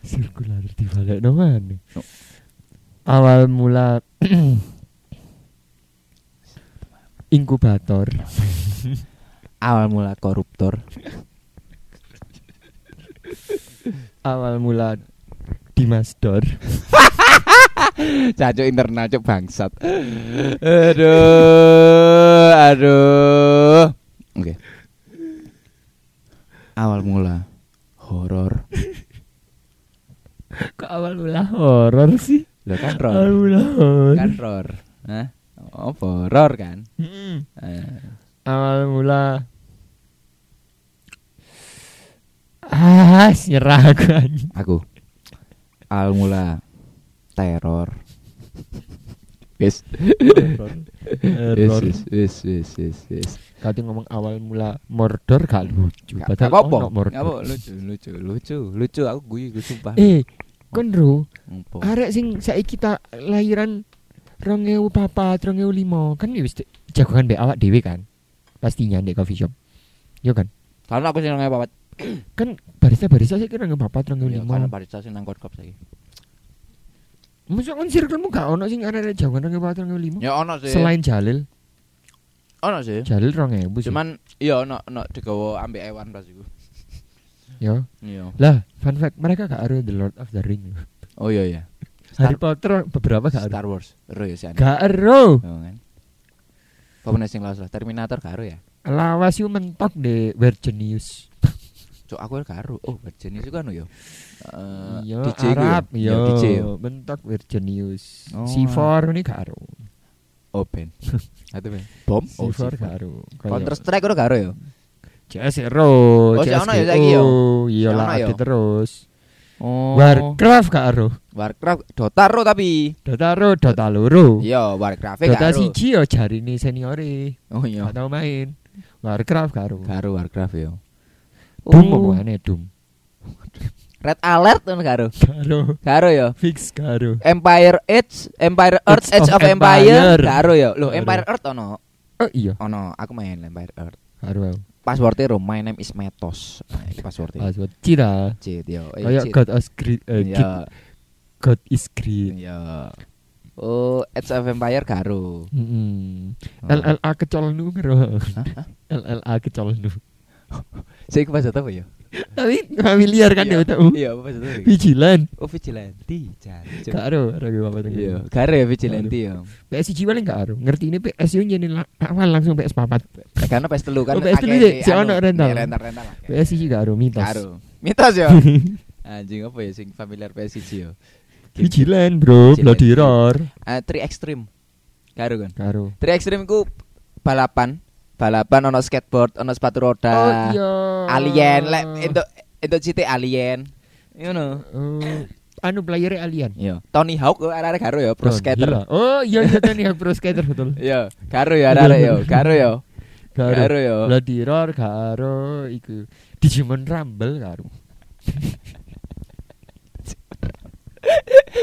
C: Sirkulator di balik no mana? Awal mula (clears throat) inkubator.
D: Awal mula (laughs) koruptor.
C: Awal mula Dimasdor.
D: Caco internal cok bangsat. aduh, aduh. Oke. Awal mula horor.
C: Kok awal mula horor sih?
D: Lo (laughs) kan
C: Awal
D: horor.
C: mula horor.
D: Kan horor. Hah? Oh, horor kan.
C: Mm-mm.
D: Eh,
C: Awal mula Ah, nyerah aku anjing.
D: aku. Awal mula teror. Wis. Wis
C: Horor.
D: wis wis wis wis wis.
C: Kau ngomong awal mula mordor gak lucu.
D: Gak
C: Padahal
D: apa-apa.
C: ono mordor.
D: Gak apa, lucu lucu lucu lucu aku guyu gue sumpah.
C: Eh, kon Ru,
D: Ngopo?
C: arek sing saiki kita lahiran 2004, 2005 kan ya wis de- jagoan mbek awak dhewe kan. Pastinya ndek coffee shop. Yo kan.
D: Karena aku sing nang papat.
C: Kan barista-barista saiki kira 2004,
D: Ya, Karena
C: 2005.
D: barista sing nang kop saiki.
C: Mosok kon circlemu gak ono sing arek-arek jagoan 2004, 2005.
D: Ya ono sih.
C: Selain Jalil,
D: ono sih.
C: Jalil 2000 sih.
D: Cuman iya ono ono digawa ambek Ewan pas iku.
C: yo.
D: Iya.
C: Ya. Lah, fun fact, mereka gak aru The Lord of the Ring.
D: Oh iya iya. Star-
C: Harry Potter beberapa gak aru.
D: Star Wars. Ero ya sih.
C: Gak aru.
D: Yo kan. Apa meneh sing lawas lah Terminator karo ya.
C: Lawas yo mentok de Where Genius.
D: Cuk aku karo. Oh, jenis iku anu yo. Eh,
C: Iya,
D: DJ iku ya?
C: Arab,
D: Iya,
C: iya,
D: DJ. yo.
C: mentok Virginius.
D: Oh,
C: C4 ini gak aru.
D: Oh,
C: (laughs)
D: ben. Ate ben. Bom. Oh, C4.
C: C4 gak aru. Kayak
D: Counter Strike ora karo ya.
C: CS:GO,
D: Oh, si ono ya saiki ya?
C: CS:GO, iya
D: Si ono
C: lah
D: ya?
C: update terus.
D: Oh.
C: Warcraft gak aru.
D: Warcraft Dota ro tapi.
C: Dota ro, Dota loro.
D: Iya, Warcraft gak
C: Dota
D: ero.
C: siji yo jarine seniore,
D: Oh iya.
C: gak tau main. Warcraft gak aru.
D: Karo Warcraft yo.
C: Doom pokoknya Doom.
D: Red Alert kan karo.
C: Gak aru.
D: Karo yo.
C: Fix gak aru.
D: Empire Age, Empire Earth,
C: Age
D: Age of
C: of
D: Empire,
C: Empire.
D: karo ya. Loh,
C: Karo.
D: Empire Earth ono.
C: Oh iya,
D: Ono, aku main Empire Earth.
C: gak aru. aku.
D: Passwordnya ro, my name is Metos. Nah, itu passwordnya.
C: Password Cina.
D: Cheat yo. Eh,
C: Kayak
D: cheat.
C: God is green, eh, gitu.
D: Iya,
C: God is green.
D: iya. Oh, Age of Empire karo.
C: Mm-mm.
D: Oh.
C: LLA kecol
D: (laughs)
C: nu ngero.
D: Hah? Hah?
C: LLA kecol nu.
D: Saya ke Pajata apa ya?
C: Tapi familiar kan
D: Iya,
C: ya tahu.
D: Iya, apa Pajata?
C: Vigilan.
D: Oh, Vigilante, jancuk.
C: Karo karo gue apa tengah.
D: Iya, karo ya Vigilante ya.
C: PS1 paling gak karo. Ngerti ini PS yo nyenil la- awal langsung PS papat.
D: Eh, Karena PS telu kan
C: Oh, PS3
D: akeh
C: ya,
D: di
C: si
D: anu,
C: ono rental.
D: di rental-rental akeh.
C: PS1 gak karo mitos. (laughs)
D: Karo. Mitos ya. Anjing apa ya sing familiar PS1 ya?
C: Vigilan, Bro.
D: Vigilan.
C: Bloody Roar.
D: Eh, Tri Extreme. Karo kan.
C: Karo.
D: Tri Extreme ku balapan, balapan ono skateboard, ono sepatu roda.
C: iya.
D: Alien lek entuk entuk cite alien. Ngono.
C: Oh, anu player alien.
D: Iya. Tony Hawk oh, ku arek karo ya pro
C: Don
D: skater. (laughs)
C: Hill. Oh, iya iya tadi pro skater iya, betul.
D: Iya, karo ya arek yo, karo yo. Gak
C: Gak karo.
D: ero yo.
C: Blood Terror gak karo iku. Digimon Rumble gak karo.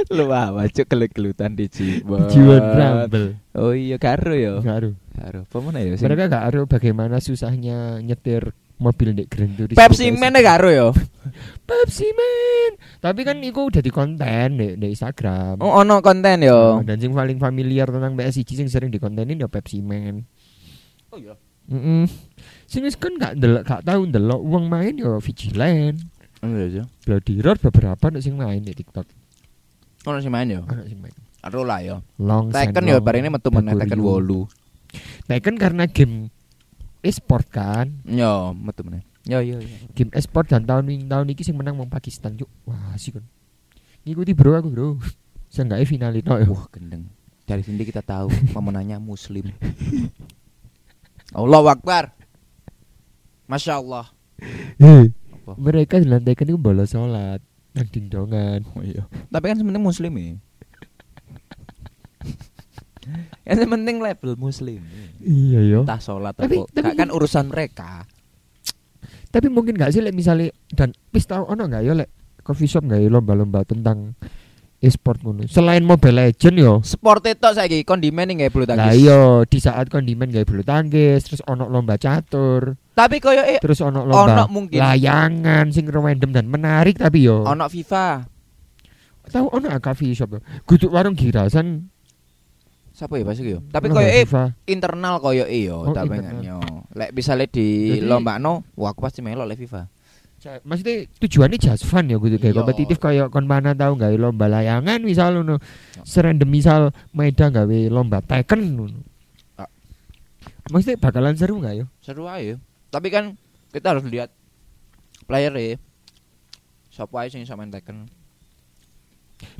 D: Lu apa cuk kelut-kelutan di Jibon.
C: Digimon Rumble
D: Oh iya karo yo.
C: gak karo.
D: Karo. Apa mana yo sing?
C: Mereka gak karo bagaimana susahnya nyetir mobil di Grand Turismo.
D: Pepsi Man karo yo.
C: Pepsi Man. Tapi kan iku udah di konten di, di Instagram.
D: Oh ono konten yo.
C: Nah, Dan sing paling familiar tentang PSG sing sering dikontenin ya Pepsi Man.
B: Oh iya.
C: Heeh. Sing wis kan gak delok gak tau ndelok wong main ya Vigilant.
D: Iya,
C: Bloody Roar beberapa nek sing main di TikTok.
D: Ono sing main yo.
C: Ana sing main.
D: Karo lah yo.
C: Long
D: Tekken
C: Sen
D: yo
C: Long,
D: barene metu meneh
C: Takuryu.
D: Tekken 8.
C: Tekken karena game e-sport kan.
D: Yo, metu meneh. Yo yo yo.
C: Game e-sport dan tahun ini tahun ini sing menang wong Pakistan yuk. Wah, sih kan. Ngikuti bro aku, Bro. (laughs) Seenggaknya finalino ya.
D: Wah, gendeng. Dari sini kita tahu pemenangnya muslim. Allah Akbar. Masya Allah.
C: Hei,
D: Apa?
C: Mereka di lantai kan itu bolos sholat Nang dingdongan
D: Tapi kan sebenarnya muslim ya. Kan yang penting label muslim.
C: Iya yo
D: Entah sholat
C: Tapi-
D: apa.
C: tapi-
D: Ka- kan urusan mereka.
C: Tapi mungkin gak sih lek misalnya Dan wis tau ono gak ya lek Coffee shop gak ya lomba-lomba tentang e-sport ngono. Selain Mobile Legend yo
D: Sport itu saya kondimen nih nggak perlu
C: Lah iya. yo di saat kondimen gak bulu tangkis Terus ono lomba catur
D: Tapi koyo eh,
C: Terus ono lomba
D: Ono mungkin.
C: layangan Sing random dan menarik tapi yo
D: ono FIFA.
C: Tahu ono gak coffee shop yo Guduk warung girasan
D: Siapa ya pasti yo. Tapi
C: ono
D: koyo
C: gak
D: eh,
C: FIFA?
D: internal koyo eh yo.
C: Oh,
D: tapi
C: internal.
D: kan yo. Lek bisa lihat di
C: Jadi-
D: lomba no, wah aku pasti melok lek FIFA.
C: Ja- Maksudnya tujuannya just fun ya gitu kayak
D: Iya.
C: kompetitif kayak kon mana tahu nggak lomba layangan misal ngono.
D: Yo.
C: Serandom misal Maeda gawe lomba Tekken ngono.
D: Ah.
C: Maksudnya bakalan seru nggak ya? yo?
D: seru aja tapi kan kita harus lihat player ya siapa aja yang sama Tekken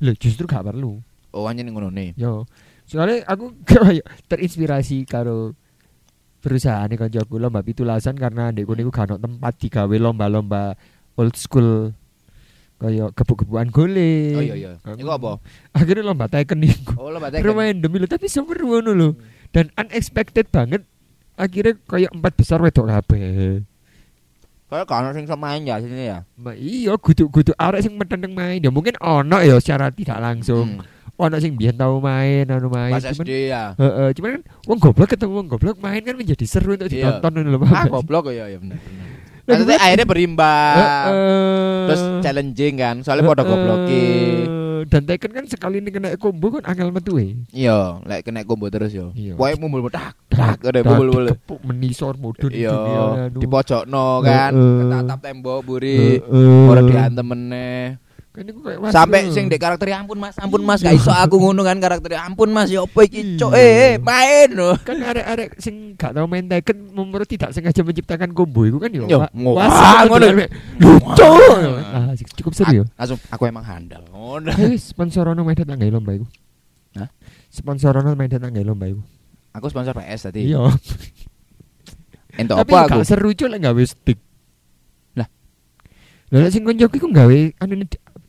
C: Loh justru gak perlu.
D: oh anjing ngono nih
C: Yo. Soalnya aku (laughs) kayak terinspirasi karo perusahaan ini kancaku lomba pitulasan karena ndek kono iku gak ono tempat digawe lomba-lomba old school kayak kebu-kebuan gole.
D: oh iya iya itu apa
C: Akhirnya lomba Tekken iku.
D: oh lomba Tekken
C: Remain demi lo tapi seru ngono lho. Dan unexpected banget akhirnya kayak empat besar wedok kabeh.
D: kalau kan sing sama aja sini ya
C: Ma iya guduk-guduk arek sing metendeng main. Ya mungkin ono ya secara tidak langsung.
D: Hmm.
C: Ono sing biyen tau main, anu main.
D: pas
C: Cuman,
D: SD ya
C: Heeh, cuman kan wong goblok ketemu wong goblok main kan menjadi seru untuk
D: Iya.
C: ditonton ngono lho. paham
D: ah
C: gak sih?
D: goblok ya ya bener bener.
C: Lah,
D: Maksudnya
C: gimana?
D: akhirnya berimbang
C: Heeh.
D: terus challenging kan soalnya pada
C: Heeh.
D: gobloki
C: Dan Tekken kan sekali ini kena combo kan angel metu e.
D: iya lek kena combo terus yo
C: Iya.
D: Pokoknya mumbul tak tak ada mumbul mumbul
C: Dikepuk, menisor modun di
D: iya
C: dunia, anu.
D: di pojok no kan
C: Heeh.
D: ketatap tembok buri
C: Heeh.
D: orang diantem meneh
C: Kan iku kayak, "Waduh."
D: sampai sing dek karakter ampun mas ampun mas gak iso aku ngono kan karakter ampun mas ya opo iki cok eh eh, main lho
C: kan arek-arek sing gak tau main Tekken menurut tidak sengaja menciptakan combo itu kan yo.
D: Yo,
C: Pak.
D: ngono.
C: Wah,
D: Ah,
C: seru
D: ngono.
C: arek. Lucu. Ah, cukup seru yo.
D: langsung aku emang handal ngono
C: Ayo sponsorono main datang gawe lomba iku.
D: Hah?
C: Sponsorono main datang gawe lomba iku.
D: aku sponsor PS tadi
C: Iya.
D: entuk
C: Tapi
D: apa aku
C: gak seru cuk lek gawe stick.
D: Lah.
C: Lah lek sing konjoku iku gawe anu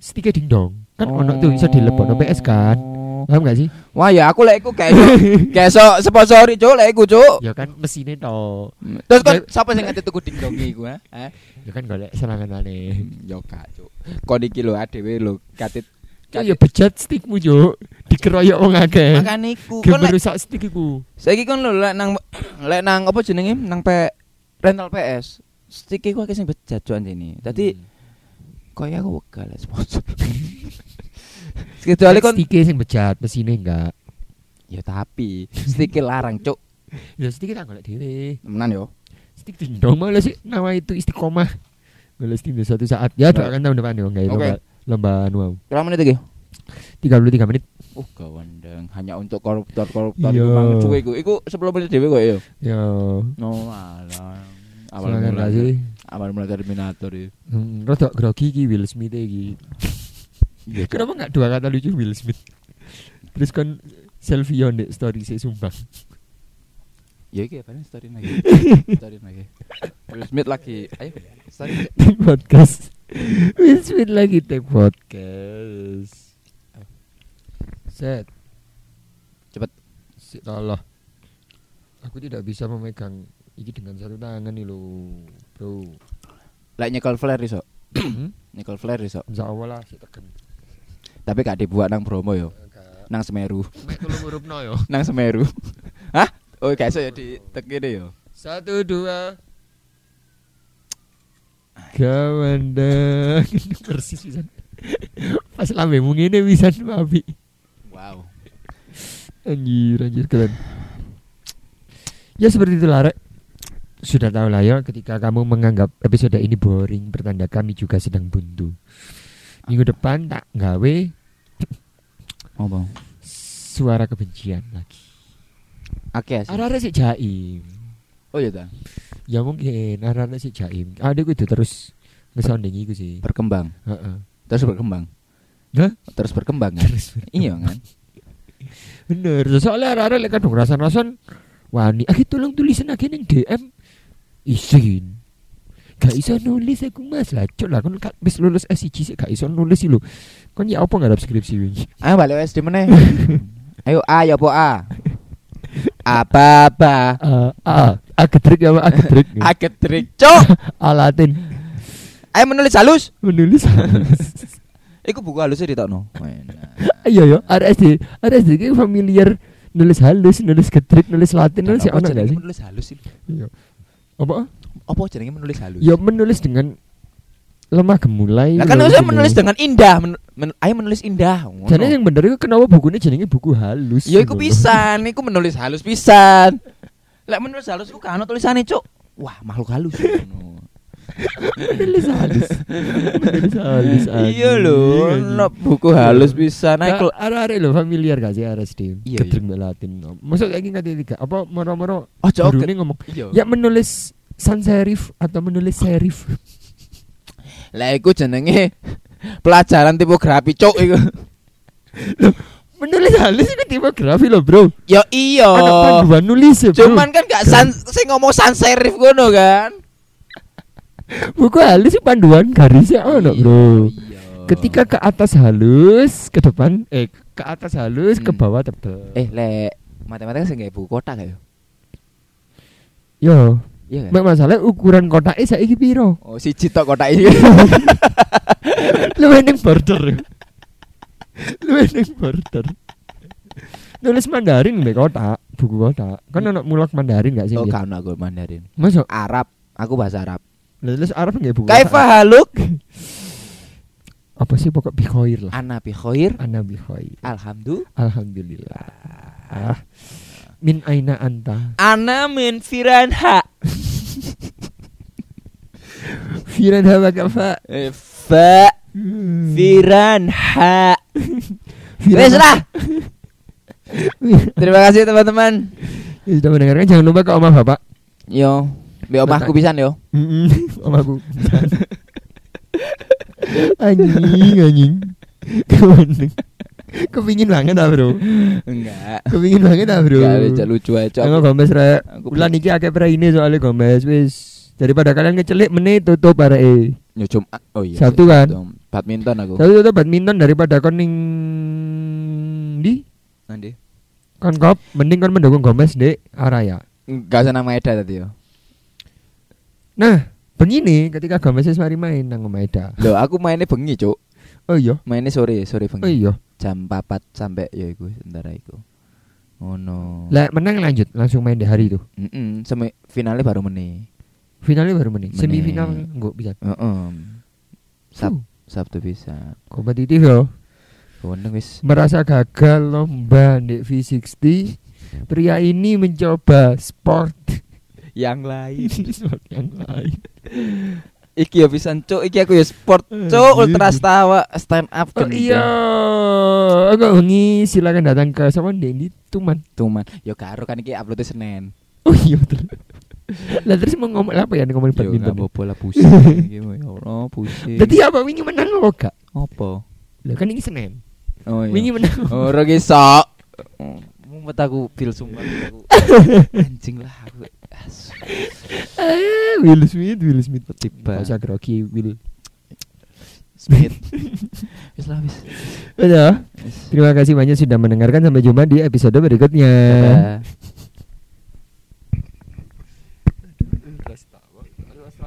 C: stike dingdong. Kan ono tuh bisa dilebokno PS kan. Paham gak sih?
D: Oh. wah ya aku lek iku gak
C: (laughs)
D: iso gak iso sponsori cok lek iku cok
C: Ya kan mesinnya to.
D: terus kon sapa sing ngati tuku dingdongi iku ha Eh?
C: Ya kan golek senangan-senangane.
D: yo gak cok kon iki lho adewe lho katit
C: Ya bejat stickmu yo dikeroyok wong akeh.
D: makan iku
C: Game
D: kon lek
C: rusak stick iku.
D: saiki kon lho lek nang lek nang apa jenenge nang P rental PS stick iku akeh sing bejat cok anjene dadi
C: Hmm.
D: Kaya aku wakal lah sponsor. Kecuali kon
C: Stike sing bejat, mesine enggak.
D: ya tapi stick larang cuk.
C: Ya stike tak golek dhewe.
D: Temenan yo.
C: Stik dindong malah sih nama itu istiqomah. Golek stik di suatu saat. Ya doakan tahun depan yo enggak
D: Oke.
C: lomba lomba anu. mau.
D: Berapa menit lagi?
C: 33 menit.
D: Uh gawandeng hanya untuk koruptor-koruptor
C: Iya.
D: iku mang cuwe iku. Iku 10 menit dhewe kok iya. yo.
C: Ya.
D: No alah. Awal
C: Silakan
D: mula.
C: gak sih.
D: Awal mula Terminator ya.
C: Hmm, rada grogi iki Will Smith e iki.
D: Iya. Cuk.
C: Kenapa enggak dua kata lucu Will Smith? Terus kan selfie on the story saya sumpah.
D: Ya iki apa nih story lagi? (laughs) Story lagi. Will Smith lagi. Ayo story.
C: Di podcast. Will Smith lagi take podcast. Set.
D: Cepet.
C: Sit Allah. Aku tidak bisa memegang Iki dengan satu tangan nih lo, (coughs) bro.
D: Lek nyekel flare iso.
C: Hmm?
D: Nyekel flare iso.
C: Insya Allah lah, si tekan.
D: Tapi gak dibuat nang Bromo yo. Nang Semeru. (laughs)
C: Mek tolong ngurupno yo.
D: Nang Semeru. (laughs) Hah? Oh, gak iso ya ditekene yo.
C: Satu dua. Gawandang persis bisa. Pas lambemu ngene bisa Abi.
D: Wow.
C: Anjir, anjir keren. Ya seperti itulah Rek. Sudah tahu lah ya ketika kamu menganggap episode ini boring bertanda kami juga sedang buntu. Minggu depan tak gawe
D: Ngomong.
C: suara kebencian lagi.
D: Oke, sih.
C: Arah-arah sih jaim.
D: Oh iya ta.
C: Ya mungkin arah-arah sih jaim. Ada gue itu terus ngesounding iku sih.
D: Berkembang.
C: Heeh.
D: Terus berkembang.
C: Hah?
D: Terus berkembang kan?
C: Terus
D: Iya kan?
C: Bener, soalnya arah-arah lek kadung rasan-rasan wani. Aki tolong tulisan lagi ning DM. Isin. Gak iso nulis aku Mas. Lah cuk lah kon gak wis lulus S1 sik gak iso nulis iki lho. Kon ya apa ngarep skripsi wingi?
D: Ayo balik SD
C: (laughs)
D: meneh. Ayo A ya po A. Apa apa?
C: Eh, ah, agedrik ya, Pak,
D: (laughs)
C: agedrik.
D: Agetrik, cok.
C: (laughs) Alatin
D: Ayo menulis halus.
C: menulis. (laughs)
D: Iku buku halusnya ditokno.
C: Iya yo, RSD. RSD ki familiar nulis halus, nulis gedrik, nulis latin, nulis ya ono gak sih?
D: menulis halus sih?
C: Iya. Apa?
D: Apa jenenge menulis halus?
C: Ya menulis dengan lemah gemulai.
D: Lah kan
C: lho,
D: harusnya
C: gitu.
D: menulis dengan indah. men- men- ayo menulis indah. ngono.
C: Jadi yang bener itu kenapa bukunya jenenge buku halus?
D: Ya iku
C: ngono.
D: pisan, iku menulis halus pisan. Lek menulis halus iku kan tulisane, Cuk. Wah, makhluk halus. ngono.
C: Menulis (laughs) halus. Menulis halus.
D: Iya lho, ono buku halus pisan. Nah, iku-
C: Arek-arek lho familiar gak sih RSD?
D: Iya,
C: Gedreng mbak Latin. Maksud kayak gini tiga apa moro-moro
D: Ojo
C: gurune ngomong
D: Iya.
C: ya menulis sans serif atau menulis serif. (laughs)
D: Lah iku jenenge pelajaran tipografi, Cuk iku.
C: menulis halus itu tipografi loh, Bro.
D: Ya iya.
C: Ada panduan nulis ya, Bro.
D: Cuman kan gak san sing ngomong sans serif ngono kan.
C: buku halus itu panduan garisnya ono, Bro.
D: Iya.
C: Ketika ke atas halus, ke depan eh ke atas halus, ke
D: Hmm.
C: bawah tebel.
D: eh lek matematika sing gawe buku kotak gak ya?
C: yo.
D: Iya kan?
C: Mak masalah ukuran kotaknya saiki piro?
D: Oh, siji tok kotak
C: (laughs)
D: iki.
C: Luwih ning border. Luwih ning border. Nulis Mandarin mbek kotak, buku kotak. Kan ono mulak Mandarin gak sih?
D: Hmm. Oh, kan
C: Bian?
D: aku Mandarin.
C: Masuk
D: Arab, aku bahasa Arab.
C: nulis Arab nggak buku.
D: Kaifa (laughs)
C: kotak?
D: haluk?
C: Apa sih pokok bikhoir lah.
D: Ana bi khair.
C: Ana bikhoir.
D: Alhamdulillah.
C: Alhamdulillah. Ah. Min aina anta?
D: Ana min firanha.
C: Firan hawa kafa.
D: Eh, Fa firanha. Wes lah. Terima kasih teman-teman.
C: Sudah mendengarkan jangan lupa ke oma bapak.
D: Yo, be omahku pisan yo.
C: Mm-mm, (laughs)
D: (laughs)
C: Omaku Anjing anjing Kemana Kepingin banget ah bro
D: Enggak.
C: Kepingin banget ah bro
D: Enggak cak lucu aja. Cok.
C: Jangan gombes rek
D: Aku-
C: Bulan ini akeh pre ini soalnya gombes Wis Daripada kalian ngecelik menit tutup arek e.
D: Yo Jumat. Oh iya.
C: Sabtu kan?
D: Jum- Badminton aku.
C: Tapi tutup badminton daripada kon ning di
D: Nanti.
C: kon kop mending kon mendukung gombes dek Araya.
D: Enggak usah nama Eda tadi yo.
C: Nah, begini ketika gombes wis mari main nang Maeda.
D: Loh, aku mainnya bengi, Cuk.
C: Oh iya,
D: Mainnya sore, sore bengi.
C: oh iya.
D: Jam 4 sampai ya iku sementara iku. Ngono.
C: Lah menang lanjut langsung main di hari itu.
D: Heeh, semi finalnya baru meneh.
C: Finalnya baru menit.
D: Menit.
C: Semifinal enggak bisa.
D: Heeh. Sab
C: Fuh,
D: Sabtu bisa.
C: kompetitif yo.
D: Wondeng wis.
C: Merasa gagal lomba di V60, pria ini mencoba sport
D: Yang lain.
C: sport yang lain.
D: iki ya pisan, Cuk. Iki aku ya sport, Cuk.
C: Anjir.
D: Ultra stawa stand up
C: (laughs) Iya. Oh
D: gendeng.
C: iya, agak wengi silakan datang ke sama Dendi Tuman.
D: Tuman. Yo karo kan iki uploadnya Senin.
C: (laughs) Oh iya betul. lah terus mau ngomong apa ya
D: Yo
C: ngomongin
D: gak
C: badminton.
D: apa-apa lah
C: (laughs)
D: pusing iki. Ya Allah, pusing.
C: Berarti ya- apa wingi menang apa gak?
D: apa?
C: Lah kan ini Senin.
D: Oh iya.
C: Wingi menang.
D: Ora ki sok. Mumpet aku feel
C: (laughs)
D: sumpah aku. Anjing lah aku. Asu.
C: (laughs) Eh, Will Smith, Will Smith.
D: Tiba.
C: Gak usah grogi Will. (laughs)
D: Smith. Wis lah wis.
C: Udah.
D: Wis.
C: Terima kasih banyak sudah mendengarkan sampai jumpa di episode berikutnya.
D: Dadah.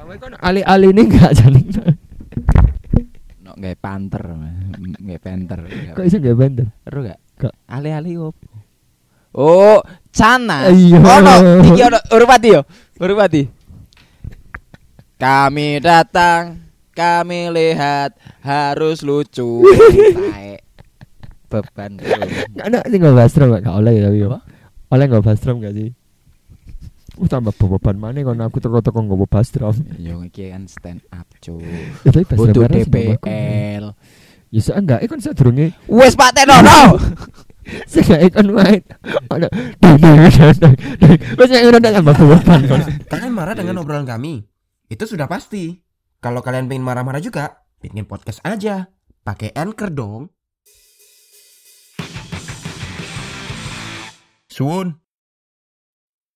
C: Kowe kan ali-ali ini enggak (laughs) jalan.
D: No, nggak panter, nggak panter.
C: Kok iso enggak bandel?
D: Ero gak?
C: Gak.
D: Ale-ale opo? Oh, cana.
C: Iya.
D: Ono, iki ono Urupati yo. Urupati. Kami datang, kami lihat harus lucu. Taek. Beban bro.
C: Enggak ada sing enggak bahas drum enggak oleh ya tapi ya. Oleh enggak bahas drum enggak sih? Uh tambah beban mana kan aku teko-teko enggak bahas drum.
D: Yo iki kan stand up, Cuk.
C: Ya (laughs) tapi bahas
D: Butuh
C: drum kan semua aku.
D: DPL.
C: Ya sak enggak eh kan sadurunge
D: Wes Pak Tenono.
C: sing ikon main. Ono dang dang dang, dang. Wes nek ngono tambah beban kan.
A: Kalian marah dengan obrolan kami? Itu sudah pasti. Kalau kalian pengen marah-marah juga, bikin podcast aja. Pakai Anchor dong. Suun.